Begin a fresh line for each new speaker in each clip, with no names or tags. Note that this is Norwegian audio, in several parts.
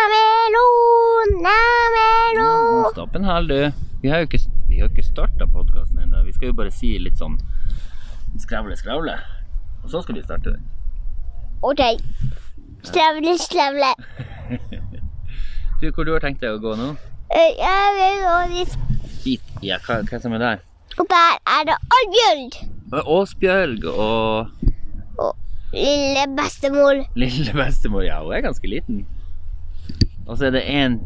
Lamelo,
Nå,
lamelo.
nå, Stopp en hæl, du. Vi har jo ikke, vi har jo ikke starta podkasten ennå. Vi skal jo bare si litt sånn skrevle, skrevle. Og så skal vi starte den.
OK. Slevle, slevle.
Du, hvor du har tenkt deg å gå nå?
Eh, Jeg vil gå dit.
Dit. Ja, hva, hva som er der?
Og der er det Oddbjørn.
Å, Åsbjørg og
Og lille bestemor.
lille bestemor. Ja, hun er ganske liten. Og så er det en,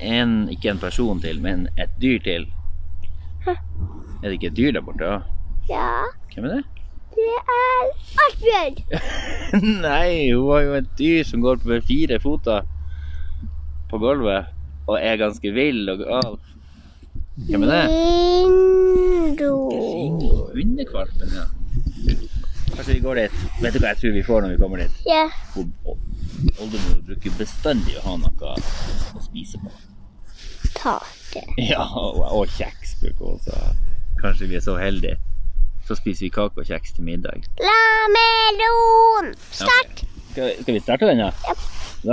en Ikke en person til, men et dyr til. Er det ikke et dyr der borte? da?
Ja,
Hvem er det?
det er Oddbjørn.
Nei, hun har jo et dyr som går på fire føtter på gulvet og er ganske vill og gal. Hvem er det?
Lindo.
Hundekvalpen, ja. Kanskje vi går dit. Vet du hva jeg tror vi får når vi kommer dit?
Ja.
Hun- hun- Oldemor bruker bestandig å ha noe å spise på.
Kake.
Ja, og, og kjeks bruker hun også. ha. Kanskje vi er så heldige. Så spiser vi kake og kjeks til middag.
Lamelon. Start.
Skal, skal vi starte den, da? Ja.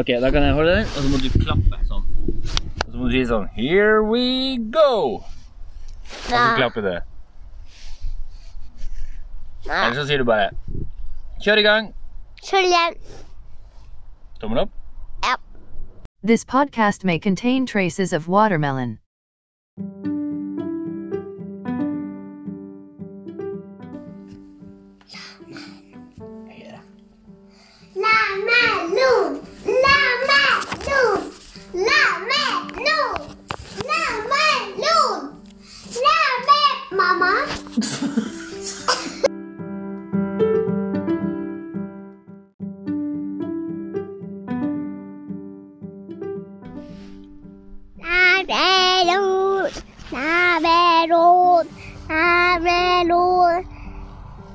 Ok, da kan jeg holde den, og så må du klappe sånn. Og så må du si sånn Here we go! Og så
Da.
klapper du.
Nei,
Eller så sier du bare Kjør i gang!
Kjør igjen.
Tommel opp.
Ja.
This podcast may contain traces of watermelon.
Lamelon. Lamelon. Lamelon. Lamelon. Lamel... Mamma. Lamelon. Lamelon. Lamelon.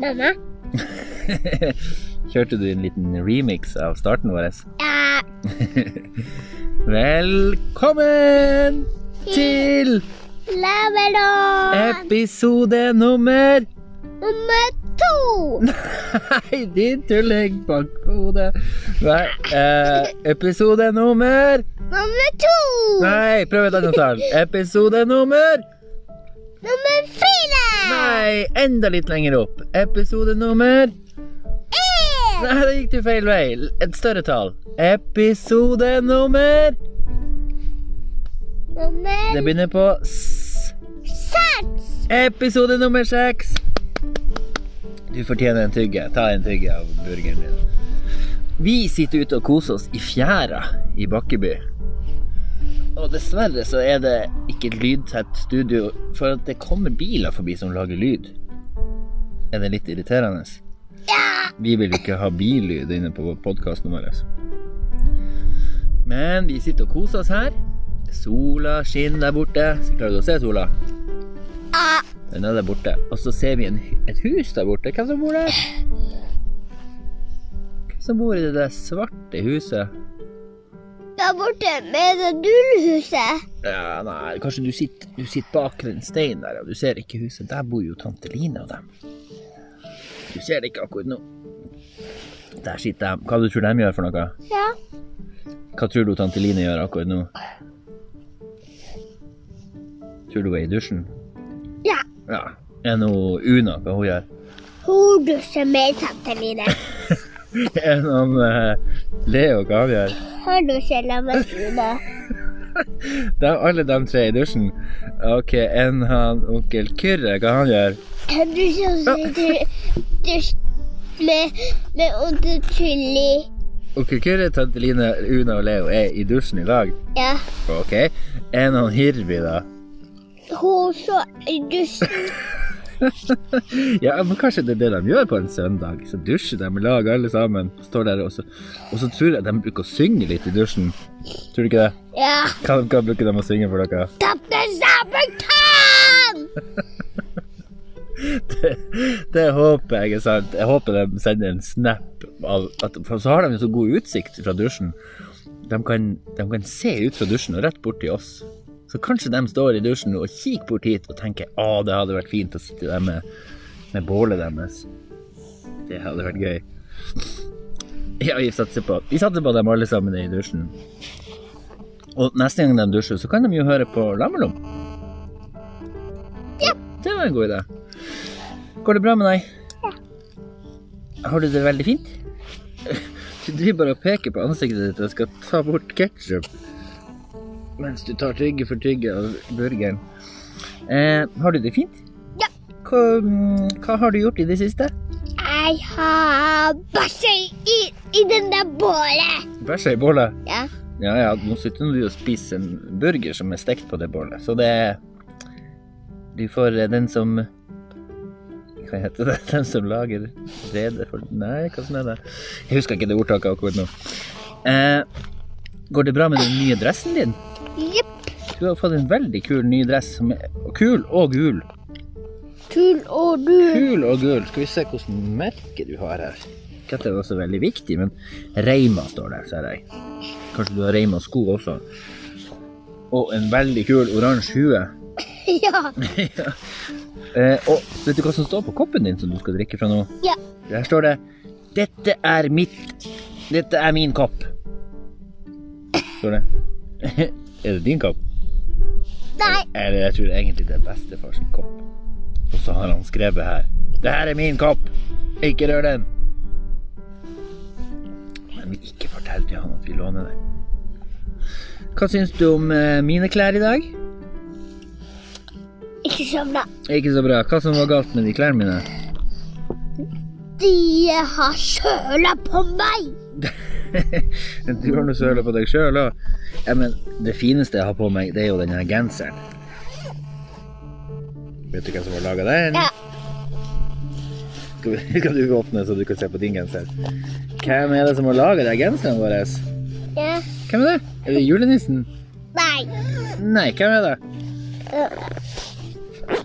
Mamma.
Kjørte du en liten remix av starten vår?
Ja.
Velkommen til
Lamelon.
episode nummer
Nummer to.
Nei, din tulling bank på hodet. Nei, eh, episode nummer
Nummer to.
Nei, prøv et annet tall. Episode nummer
Nummer fire.
Nei, enda litt lenger opp. Episode nummer
En.
Nei, da gikk du feil vei. Et større tall. Episode nummer
Nummer
Det begynner på S.
seks.
Episode nummer seks. Du fortjener en tygge. Ta en tygge av burgeren din. Vi sitter ute og koser oss i fjæra i Bakkeby. Og dessverre så er det ikke et lydtett studio, for at det kommer biler forbi som lager lyd. Er det litt irriterende?
Ja.
Vi vil ikke ha billyd inne på podkasten vår. Men vi sitter og koser oss her. Sola skinner der borte. Så klarer du å se sola?
Ja.
Den er der borte. Og så ser vi en, et hus der borte. Hvem som bor der? Hvem som bor i det der svarte huset?
Der borte med det dullhuset.
Ja, nei, kanskje du sitter, du sitter bak den steinen der, og du ser ikke huset. Der bor jo tante Line og dem. Du ser det ikke akkurat nå. Der sitter de. Hva du tror du de gjør for noe?
Ja.
Hva tror du tante Line gjør akkurat nå? Tror du hun er i dusjen?
Ja.
Ja. Er nå Una hva hun gjør?
Hun dusjer med tante Line.
Er noen eh, Leo hva han gjør?
Hun dusjer sammen med Line.
De, alle de tre i dusjen. Ok, enn han onkel Kyrre, hva han gjør?
Hun dusjer også i du- dusj med, med onkel Tulli.
Onkel Kyrre, tante Line, Una og Leo er i dusjen i dag.
Ja.
Ok. Er noen Hirvi, da?
Hun så i dusjen.
Ja, men kanskje det er det de gjør på en søndag. Så dusjer de i lag, alle sammen. Står der også. Og så tror jeg de bruker å synge litt i dusjen. Tror du ikke det?
Ja.
Hva, hva bruker de å synge for dere?
Tante Sabeltann!
Det, det håper jeg er sant. Jeg håper de sender en snap av at, For så har de jo så god utsikt fra dusjen. De kan, de kan se ut fra dusjen og rett bort til oss. Så kanskje de står i dusjen og kikker bort hit og tenker å, det hadde vært fint å sitte der med, med bålet deres. Det hadde vært gøy. Ja, vi satser på Vi satser på dem alle sammen er i dusjen. Og neste gang de dusjer, så kan de jo høre på Lammelom.
Ja.
Det var en god idé. Går det bra med deg? Ja. Har du det veldig fint? Du driver bare og peker på ansiktet ditt og skal ta bort ketsjup mens du tar tygge for tygge av burgeren. Eh, har du det fint?
Ja.
Hva, mm, hva har du gjort i det siste?
Jeg har bæsja i, i den der bålet.
Bæsja i bålet.
Ja.
Ja, ja, nå sitter du og spiser en burger som er stekt på det bålet, så det er Du får eh, den som Hva heter det? Den som lager rede for Nei, hva som er det? Jeg husker ikke det ordtaket akkurat nå. Eh, går det bra med den nye dressen din?
Jepp.
Du har fått en veldig kul ny dress. Som er kul og gul.
Tull og du.
Kul og gul. Skal vi se hvilket merke du har her. Ikke at det var så veldig viktig, men Reima står der, ser jeg. Kanskje du har Reima-sko også. Og en veldig kul oransje hue.
Ja.
Eh, og vet du hva som står på koppen din som du skal drikke fra nå?
Ja.
Der står det 'Dette er mitt Dette er min kopp'. Står det. er det din kopp?
Nei.
Eller jeg tror egentlig det er bestefar sin kopp. Og så har han skrevet her. Det her er min kopp! Ikke rør den! Men vi ikke fortell til han at vi låner den. Hva syns du om eh, mine klær i dag?
Ikke sovna.
Ikke så bra. Hva som var galt med de klærne mine?
De har søla på meg.
du har nå søla på deg sjøl òg. Ja, men det fineste jeg har på meg, det er jo denne genseren. Vet du hvem som har laga den?
Ja.
Skal, vi- skal du åpne, så du kan se på din genser? Hvem er det som har laga de genserne våre?
Ja.
Hvem er det? Er det julenissen?
Nei.
Nei, hvem er det?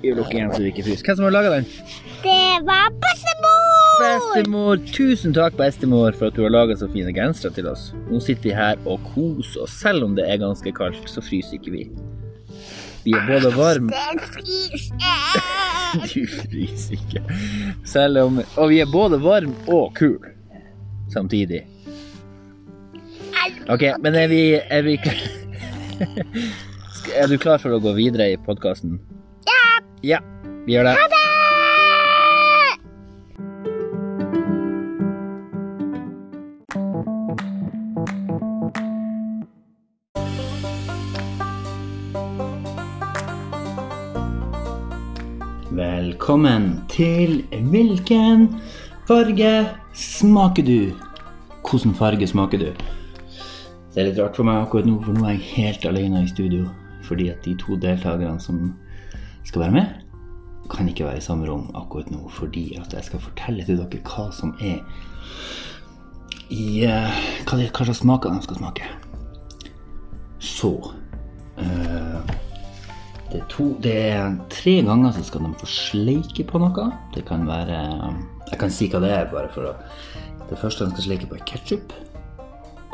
Vi lukker igjen så vi ikke fryser. Hvem som har laga den?
Det var bestemor.
Bestemor, tusen takk bestemor for at du har laget så fine gensere til oss. Nå sitter vi her og koser oss. Selv om det er ganske kaldt, så fryser ikke vi. Vi er både varme
Den fryser.
Du fryser ikke. Selv om Og vi er både varm og kul samtidig. OK, men er vi Er, vi kl- Sk- er du klar for å gå videre i podkasten? Ja. Vi gjør det. Velkommen til Hvilken farge smaker du? Hvilken farge smaker du? Det er litt rart for meg akkurat nå, for nå er jeg helt alene i studio. Fordi at de to deltakerne som skal være med, kan ikke være i samme rom akkurat nå. Fordi at jeg skal fortelle til dere hva som er i eh, Hva, de- hva slags smaker de skal smake. Så eh, det er, to, det er tre ganger så skal de få sleike på noe. Det kan være Jeg kan si hva det er, bare for å Det første de skal sleike på, er ketsjup.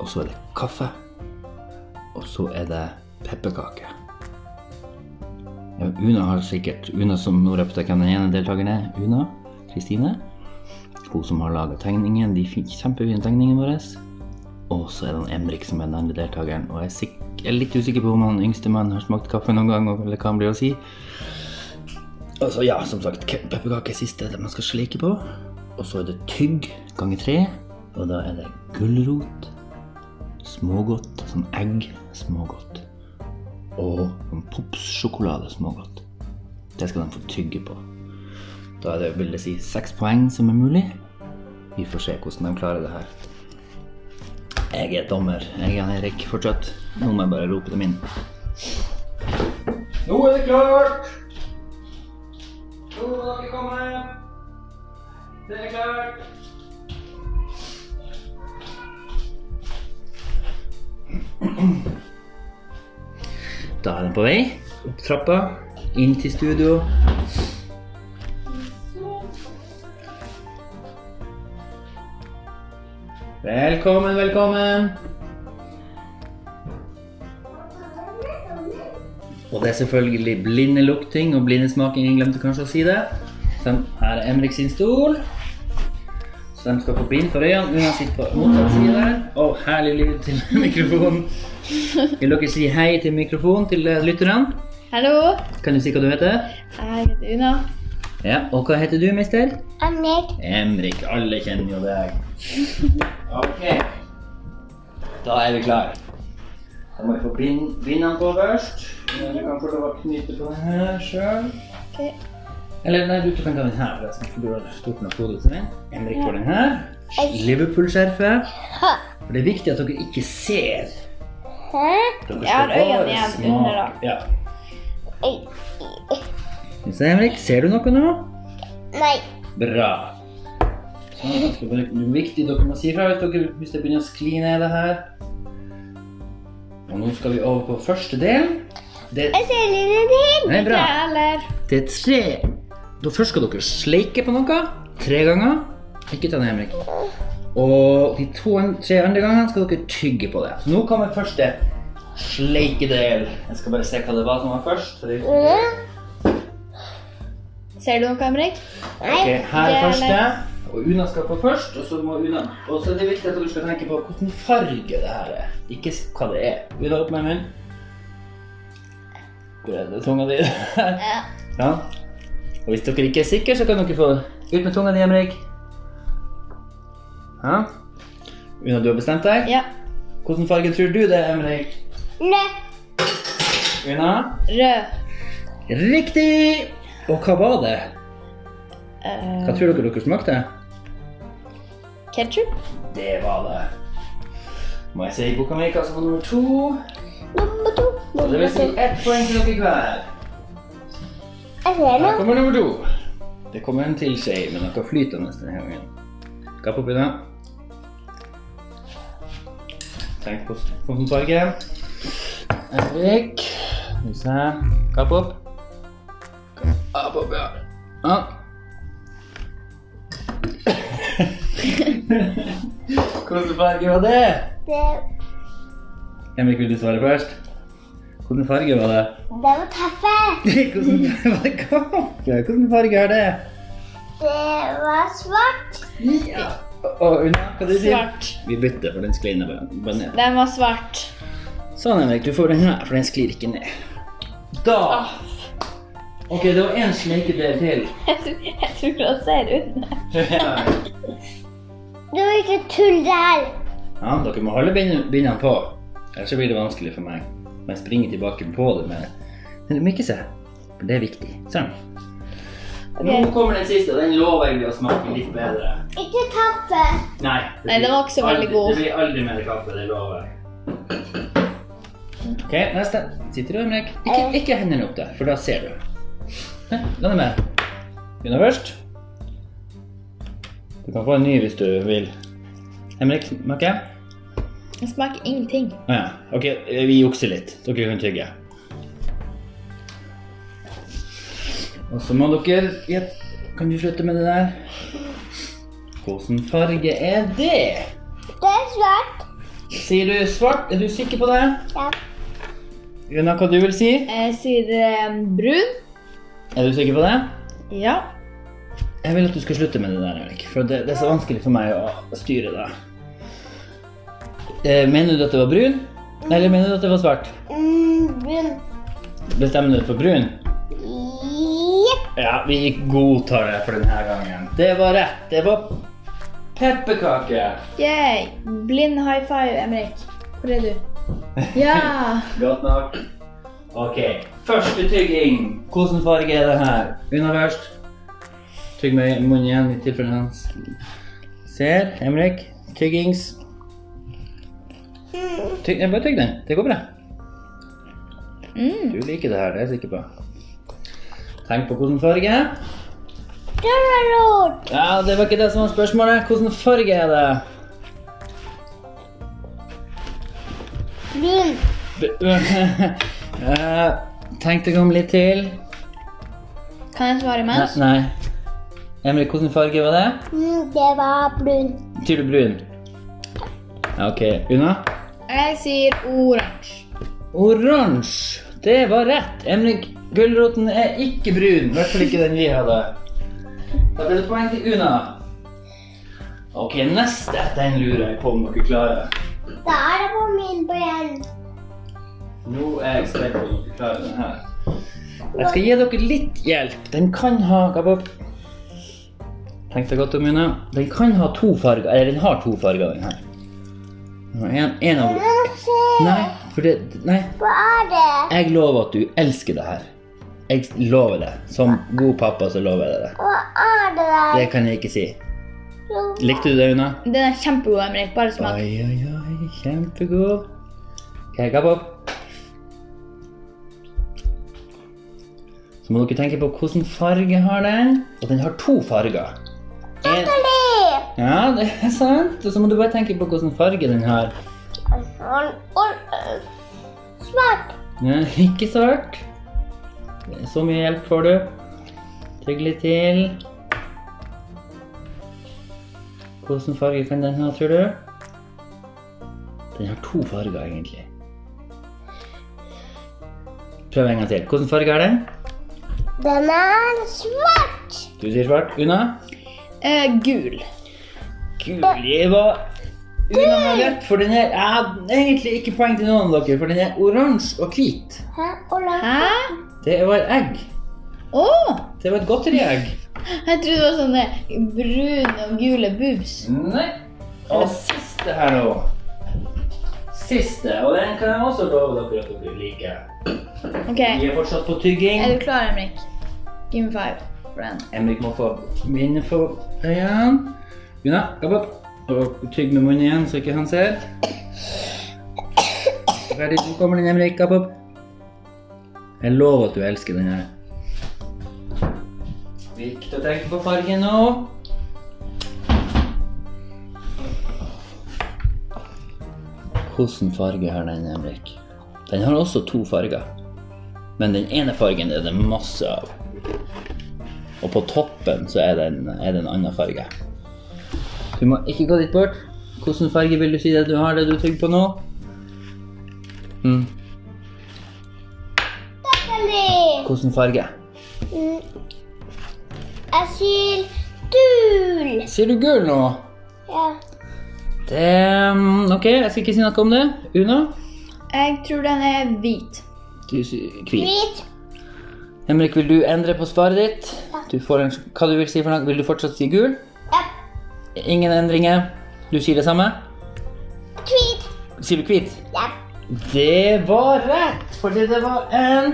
Og så er det kaffe. Og så er det pepperkake. Ja, Una har sikkert Una som nå repte hvem den ene deltakeren er. Una Kristine. Hun som har laga tegningen. De fikk kjempefine tegningene våre. Og så er det han Emrik som er den andre deltakeren. Og jeg er, sikk- jeg er litt usikker på om han yngste mannen har smakt kaffe noen gang, eller hva han blir å si. Altså, ja, som sagt, ke- pepperkake er siste det man skal slike på. Og så er det tygg ganger tre. Og da er det gulrot, smågodt, sånn egg, smågodt. Og sånn popssjokolade, smågodt. Det skal de få tygge på. Da er det, vil det si, seks poeng som er mulig. Vi får se hvordan de klarer det her. Jeg er dommer. Jeg er Erik fortsatt. Nå må jeg bare rope dem inn. Nå er det klart! Nå må dere komme. Det er klart. Da er den på vei. Opp trappa. Inn til studio. Velkommen, velkommen. Og det er selvfølgelig blindelukting og blindesmaking. Jeg glemte kanskje å si det. Så her er Emrik sin stol. Så de skal få bind for øynene. Una sitter på motsatt side. Og herlig lyd til mikrofonen. Vil dere si hei til mikrofonen til eh, lytterne?
Hallo,
Kan du si hva du heter?
jeg heter Una.
Ja, Og hva heter du, mister?
Annik.
Emrik. Alle kjenner jo deg. Ok. Da er vi klare. Da må vi få bind- bindene på først. Du kan få lov å knyte på den her sjøl.
Ok.
Eller nei, du du kan ta den her. forresten, for Du har stort nok hode til den. Emrik får den her. Liverpool-skjerfet.
Ha.
For det er viktig at dere ikke ser.
Hæ?
Dere
Ja,
skal
øynene
bare
igjen
smake.
under da.
Ja.
Ei,
Skal vi se, Henrik, ser du noe nå?
Nei.
Bra. Sånn, jeg skal bare, det er viktig dere må si fra hvis, dere, hvis det begynner å skli ned det her. Og nå skal vi over på første del. Det,
Jeg ser lille ting.
nei, bra.
Eller
det er tre. Da først skal dere sleike på noe. Tre ganger. Ikke ta den, Henrik. Og de to, tre andre gangene skal dere tygge på det. Så nå kommer første sleikedel. Jeg skal bare se hva det var som var først. for det-
Mm.
Ser du noe, Henrik?
Ok, her
det
er
er
første. Og Una skal på først, og så må Una Og så er det viktig at dere skal tenke på hvilken farge det her er. Ikke s- hva det er. Una, opp med munnen. Hvor er det tunga di?
Ja.
ja. Og hvis dere ikke er sikre, så kan dere få Ut med tunga di, Henrik. Ja. Una, du har bestemt deg?
Ja.
Hvilken farge tror du det er, Henrik?
Nei.
Una?
Rød.
Riktig! Og hva var det?
Uh,
Hva tror dere dere smakte?
Ketchup?
Det var det. Må jeg si boka mi kasse på nummer to?
Nummer to.
Og det
Nummer
vil si
to.
ett poeng til dere hver.
Jeg ser
Her
noe.
kommer nummer to. Det kommer en til skje med noe flytende denne gangen. Kapp opp i den. Tenk på fontenfarge. Erik. Skal vi se. Kapp opp. Kapp opp, ja. ja. Hvilken farge var det?
Det,
Henrik, vil du svare først? Hvilken farge var det?
det var kaffe.
Hvordan farge var det kaffe? Hvordan farge er det?
Det var svart.
Ja. Og Una, hva du sier?
Svart.
Vi bytter, for den sklir ned. bare- bare ned.
Den var svart.
Sånn, Henrik, du får den her, for den sklir ikke ned. Da Ok, det var én sleikedel til.
Jeg tror, jeg tror han ser under.
ja,
Det var ikke tull der.
dere må holde bind- bindene på. Ellers så blir det vanskelig for meg. Må jeg springer tilbake på det med Men du må ikke se. For det er viktig. Sånn.
Ok.
Nå kommer den siste. Den lover jeg å smake litt bedre.
Ikke kaffe.
Nei, det
Nei, den var ikke så veldig
aldri-
god.
Det blir aldri mer kaffe, det lover jeg. Ok, neste. Sitter du, Henrik? Ikke, ikke hendene opp der, for da ser du. Nei, La det med. Begynner først. Du kan få en ny hvis du vil. Henrik, smaker jeg?
Den smaker ingenting.
Å ja. Ok, vi jukser litt. Dere kan tygge. Og så må dere Jepp. Kan du slutte med det der? Hvilken farge er det?
Det er svart.
Sier du svart? Er du sikker på det?
Ja.
Una, hva du vil si?
Jeg sier eh,
ehm,
brun.
Er du sikker på det?
Ja.
Jeg vil at du skal slutte med det der, Erik. For det, det er så vanskelig for meg å styre det. Eh, mener du at det var brun? Eller mener du at det var svart?
Mm, brun.
Bestemmer du deg for brun?
Jepp.
Ja, vi godtar det for denne gangen. Det var rett. Det var pepperkake.
Yay. Blind high five, Emrik. Hvor er du? Ja.
Godt nok. Ok, første tygging. Hvilken farge er det her? Unna først. Tygg med munnen igjen i tilfelle han s- ser. Henrik, tyggings. Tygg, nei, bare tygg den. Det går bra.
Mm.
Du liker det her, det er jeg sikker på. Tenk på hvilken farge.
Det var rart.
Ja, det var ikke det som var spørsmålet. Hvilken farge er det?
Brun.
Eh, Tenk deg om litt til.
Kan jeg svare
Nei.
imens?
nei. Henrik, hvilken farge var det?
Mm, det var brun.
Sier du brun? Ja, Ok, Una?
Jeg sier oransje.
Oransje! Det var rett. Emrik, gulroten er ikke brun. I hvert fall ikke den vi hadde. Da ble det poeng til Una. Ok, neste. Den lurer jeg på om dere klarer.
Da er det på min brenn.
Nå er jeg spent på om dere klarer den her. Jeg skal gi dere litt hjelp. Den kan ha Kabab. Tenk deg godt om, Une. Den kan ha to farger. Eller den har to farger, den her. Nå, En, en av Nei, for det Nei.
Hva er det?
Jeg lover at du elsker det her. Jeg lover det. Som god pappa så lover jeg deg det.
Hva er det
Det kan jeg ikke si.
der?
Likte du det, Une?
Den er kjempegod, Emrik. Bare smak.
Oi, oi, oi. Kjempegod. Ok, Kabab. Så må dere tenke på hvilken farge har den. Og den har to farger. En,
Brokkoli!
ja, det er sant. Og så må du bare tenke på hvilken farge den har.
Sånn, og, øh, Svart.
Ja, ikke svart. Så mye hjelp får du. Trygg litt til. Hvilken farge kan den ha, tror du? Den har to farger, egentlig. Prøv en gang til. Hvilken farge er den?
Den er svart.
Du sier svart. Una?
Eh, gul.
Guli var Una har rett, for den er ja, egentlig ikke poeng til noen av dere, for den er oransje og hvit.
Hæ? Og langt.
Hæ?
Det var egg.
Å!
Det var et godteriegg.
jeg trodde det var sånne brune og gule boobs.
Nei. Og siste her nå. Siste, og den kan jeg også love dere at dere liker.
OK,
Vi
er
er fortsatt på tygging.
du klar, Emrik? Give me five. for den.
Emrik må få minne for øynene. Una, gabb opp. Og tygg med munnen igjen, så ikke han ser. Ferdig, nå kommer den, Emrik. Gabb opp. Jeg lover at du elsker den her. Viktig å tenke på fargen nå. Hvilken farge har den, Emrik? Den har også to farger. Men den ene fargen er det masse av. Og på toppen så er det en, er det en annen farge. Du må ikke gå dit bort. Hvilken farge vil du si at du har det du tygger på nå? Mm.
Brokkoli.
Hvilken farge?
Mm. Jeg sier gul.
Sier du gul nå?
Ja.
Det mm, Ok, jeg skal ikke si noe om det. Una?
Jeg tror den er hvit.
Du sier hvit.
Hvit.
Henrik, vil du endre på svaret ditt?
Ja.
Du får en, hva du vil si for noe? Vil du fortsatt si gul?
Ja.
Ingen endringer. Du sier det samme?
Hvit.
Sier du hvit?
Ja.
Det var rett, fordi det var en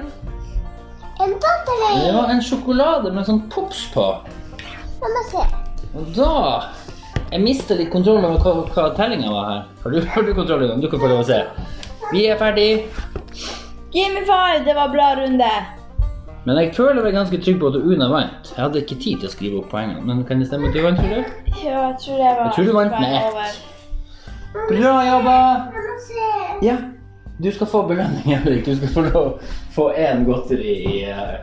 En
Det
brokkoli.
var en sjokolade med sånn pops på.
La meg se.
Og da Jeg mista litt kontroll over hva, hva tellinga var her. Har du, har du kontroll? Johan? Du kan få lov å se. Vi er ferdig,
Give me five! Det var bra runde.
men jeg føler meg ganske trygg på at Una vant. Jeg hadde ikke tid til å skrive opp poengene, men kan det stemme at du vant, tror du?
Ja, jeg tror det var
Jeg tror du vant med
var
ett.
over.
Bra jobba!
La meg se.
Ja. Du skal få belønning, Henrik. Du skal få lov å få én godteri i eh,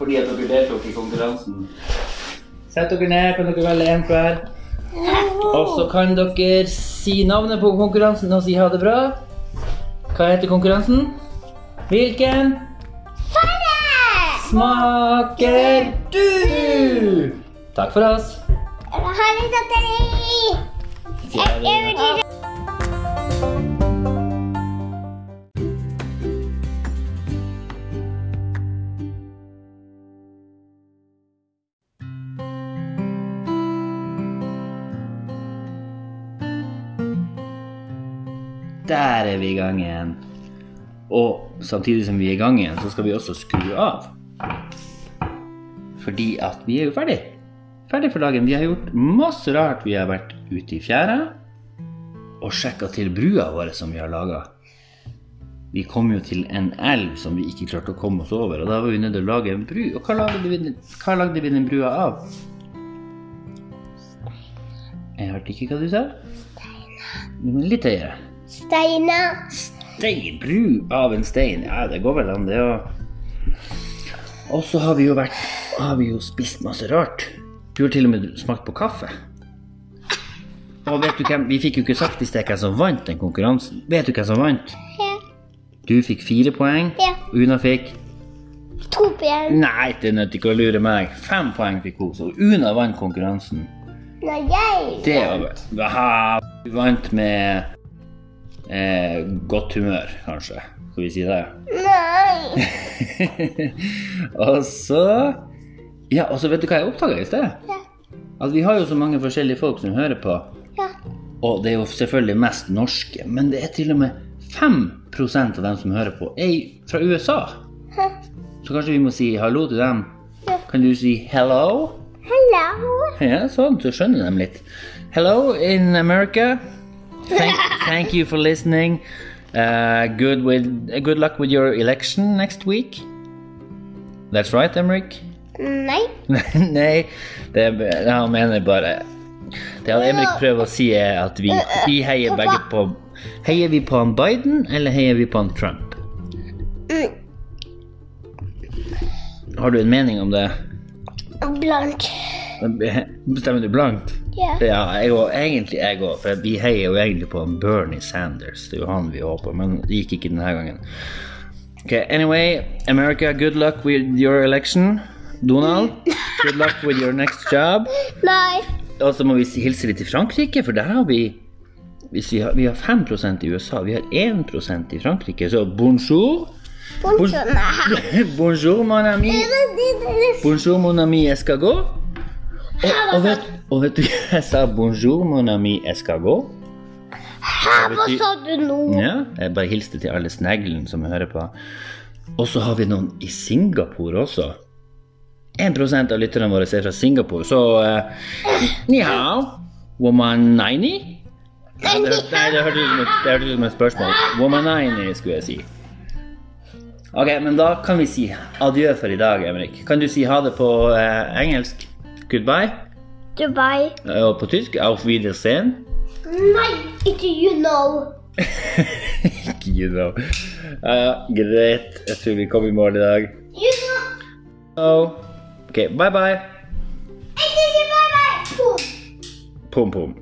Fordi at dere deltok i konkurransen. Sett dere ned, kan dere velge én hver. Og så kan dere si navnet på konkurransen og si ha det bra. Hva heter konkurransen? Hvilken smaker du? Takk for oss.
Ha det, godteri.
Sier vi. Der er vi i gang igjen. Og samtidig som vi er i gang igjen, så skal vi også skru av. Fordi at vi er jo ferdig. Ferdig for dagen. Vi har gjort masse rart. Vi har vært ute i fjæra og sjekka til brua våre som vi har laga. Vi kom jo til en elv som vi ikke klarte å komme oss over, og da var vi nødt til å lage en bru. Og hva lagde vi, den- hva lagde vi den brua av? Jeg hørte ikke hva du sa. Steiner. Litt høyere.
Steinar.
Stein, bru av en stein. Ja, det går vel an, det òg. Og så har vi jo vært Har vi jo spist masse rart. Du har til og med smakt på kaffe. Og vet du hvem Vi fikk jo ikke sagt i sted hvem som vant den konkurransen. Vet du hvem som vant?
Ja.
Du fikk fire poeng.
Ja.
Una fikk
To ben.
Nei, det nytter ikke å lure meg. Fem poeng fikk hun, så Una vant konkurransen.
Når jeg
Det var bra. Aha, Du vant med eh, godt humør, kanskje. Skal vi si det?
Nei.
og så Ja, og så vet du hva jeg oppdaga i sted?
Ja.
At vi har jo så mange forskjellige folk som hører på.
Ja.
Og det er jo selvfølgelig mest norske, men det er til og med 5 av dem som hører på, er fra USA.
Hæ?
Så kanskje vi må si hallo til dem?
Ja.
Kan du si 'hello'?
Hello.
Ja, sånn, så skjønner de litt. Hello in America. Thank, thank you for listening. Uh, good with uh, good luck with your election next week. That's right, Emrik.
Nei.
Nei, det er- han mener bare Det han Emrik prøver å si, er at vi, vi heier begge på Heier vi på han Biden, eller heier vi på han Trump?
Mm.
Har du en mening om det?
Blank.
Bestemmer du blankt?
Ja.
Ja, jeg og, egentlig jeg òg. For vi heier jo egentlig på en Bernie Sanders. Det er jo han vi håper, men det gikk ikke denne gangen. Ok, Anyway, America, good luck with your election. Donald, good luck with your next job.
Nei.
Og så må vi si- hilse litt til Frankrike, for der har vi hvis vi, har, vi har 5 i USA, vi har 1 i Frankrike, så bonjour.
Bonjour. Nei.
bonjour, mon ami. Bonjour, mon ami, jeg skal gå. Og, og, vet, og vet du, jeg sa bonjour, mon ami, jeg skal gå.
Hva sa du nå?
Ja, jeg bare hilste til alle sneglene som hører på. Og så har vi noen i Singapore også. 1 av lytterne våre er fra Singapore, så eh, Ni hao, woman nini? Nei, det, nei, det hørtes ut som et- det hørtes ut som et spørsmål. Woman nini, skulle jeg si. Ok, men da kan vi si adjø for i dag, Emrik. Kan du si ha det på eh, engelsk? Goodbye.
Dubai.
eh, Og på tysk auf Wiedersehen.
Nei, ikke you know.
Ikke you know. Ja, greit. Jeg tror vi kom i mål i dag.
You know.
Oh. Ok, bye bye.
Ikke si bye bye. Boom.
Pom pom.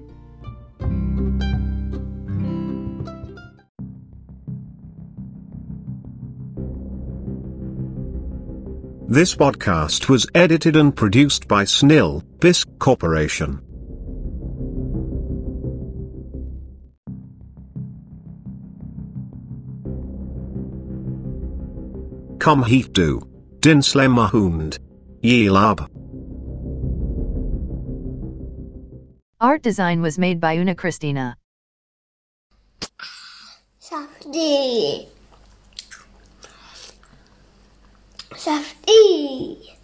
This podcast was edited and produced by Snill, BISC Corporation. Kom hit du, din slemme hund. Gilab.
Art design was made by Una Christina.
Saftig. Saftig.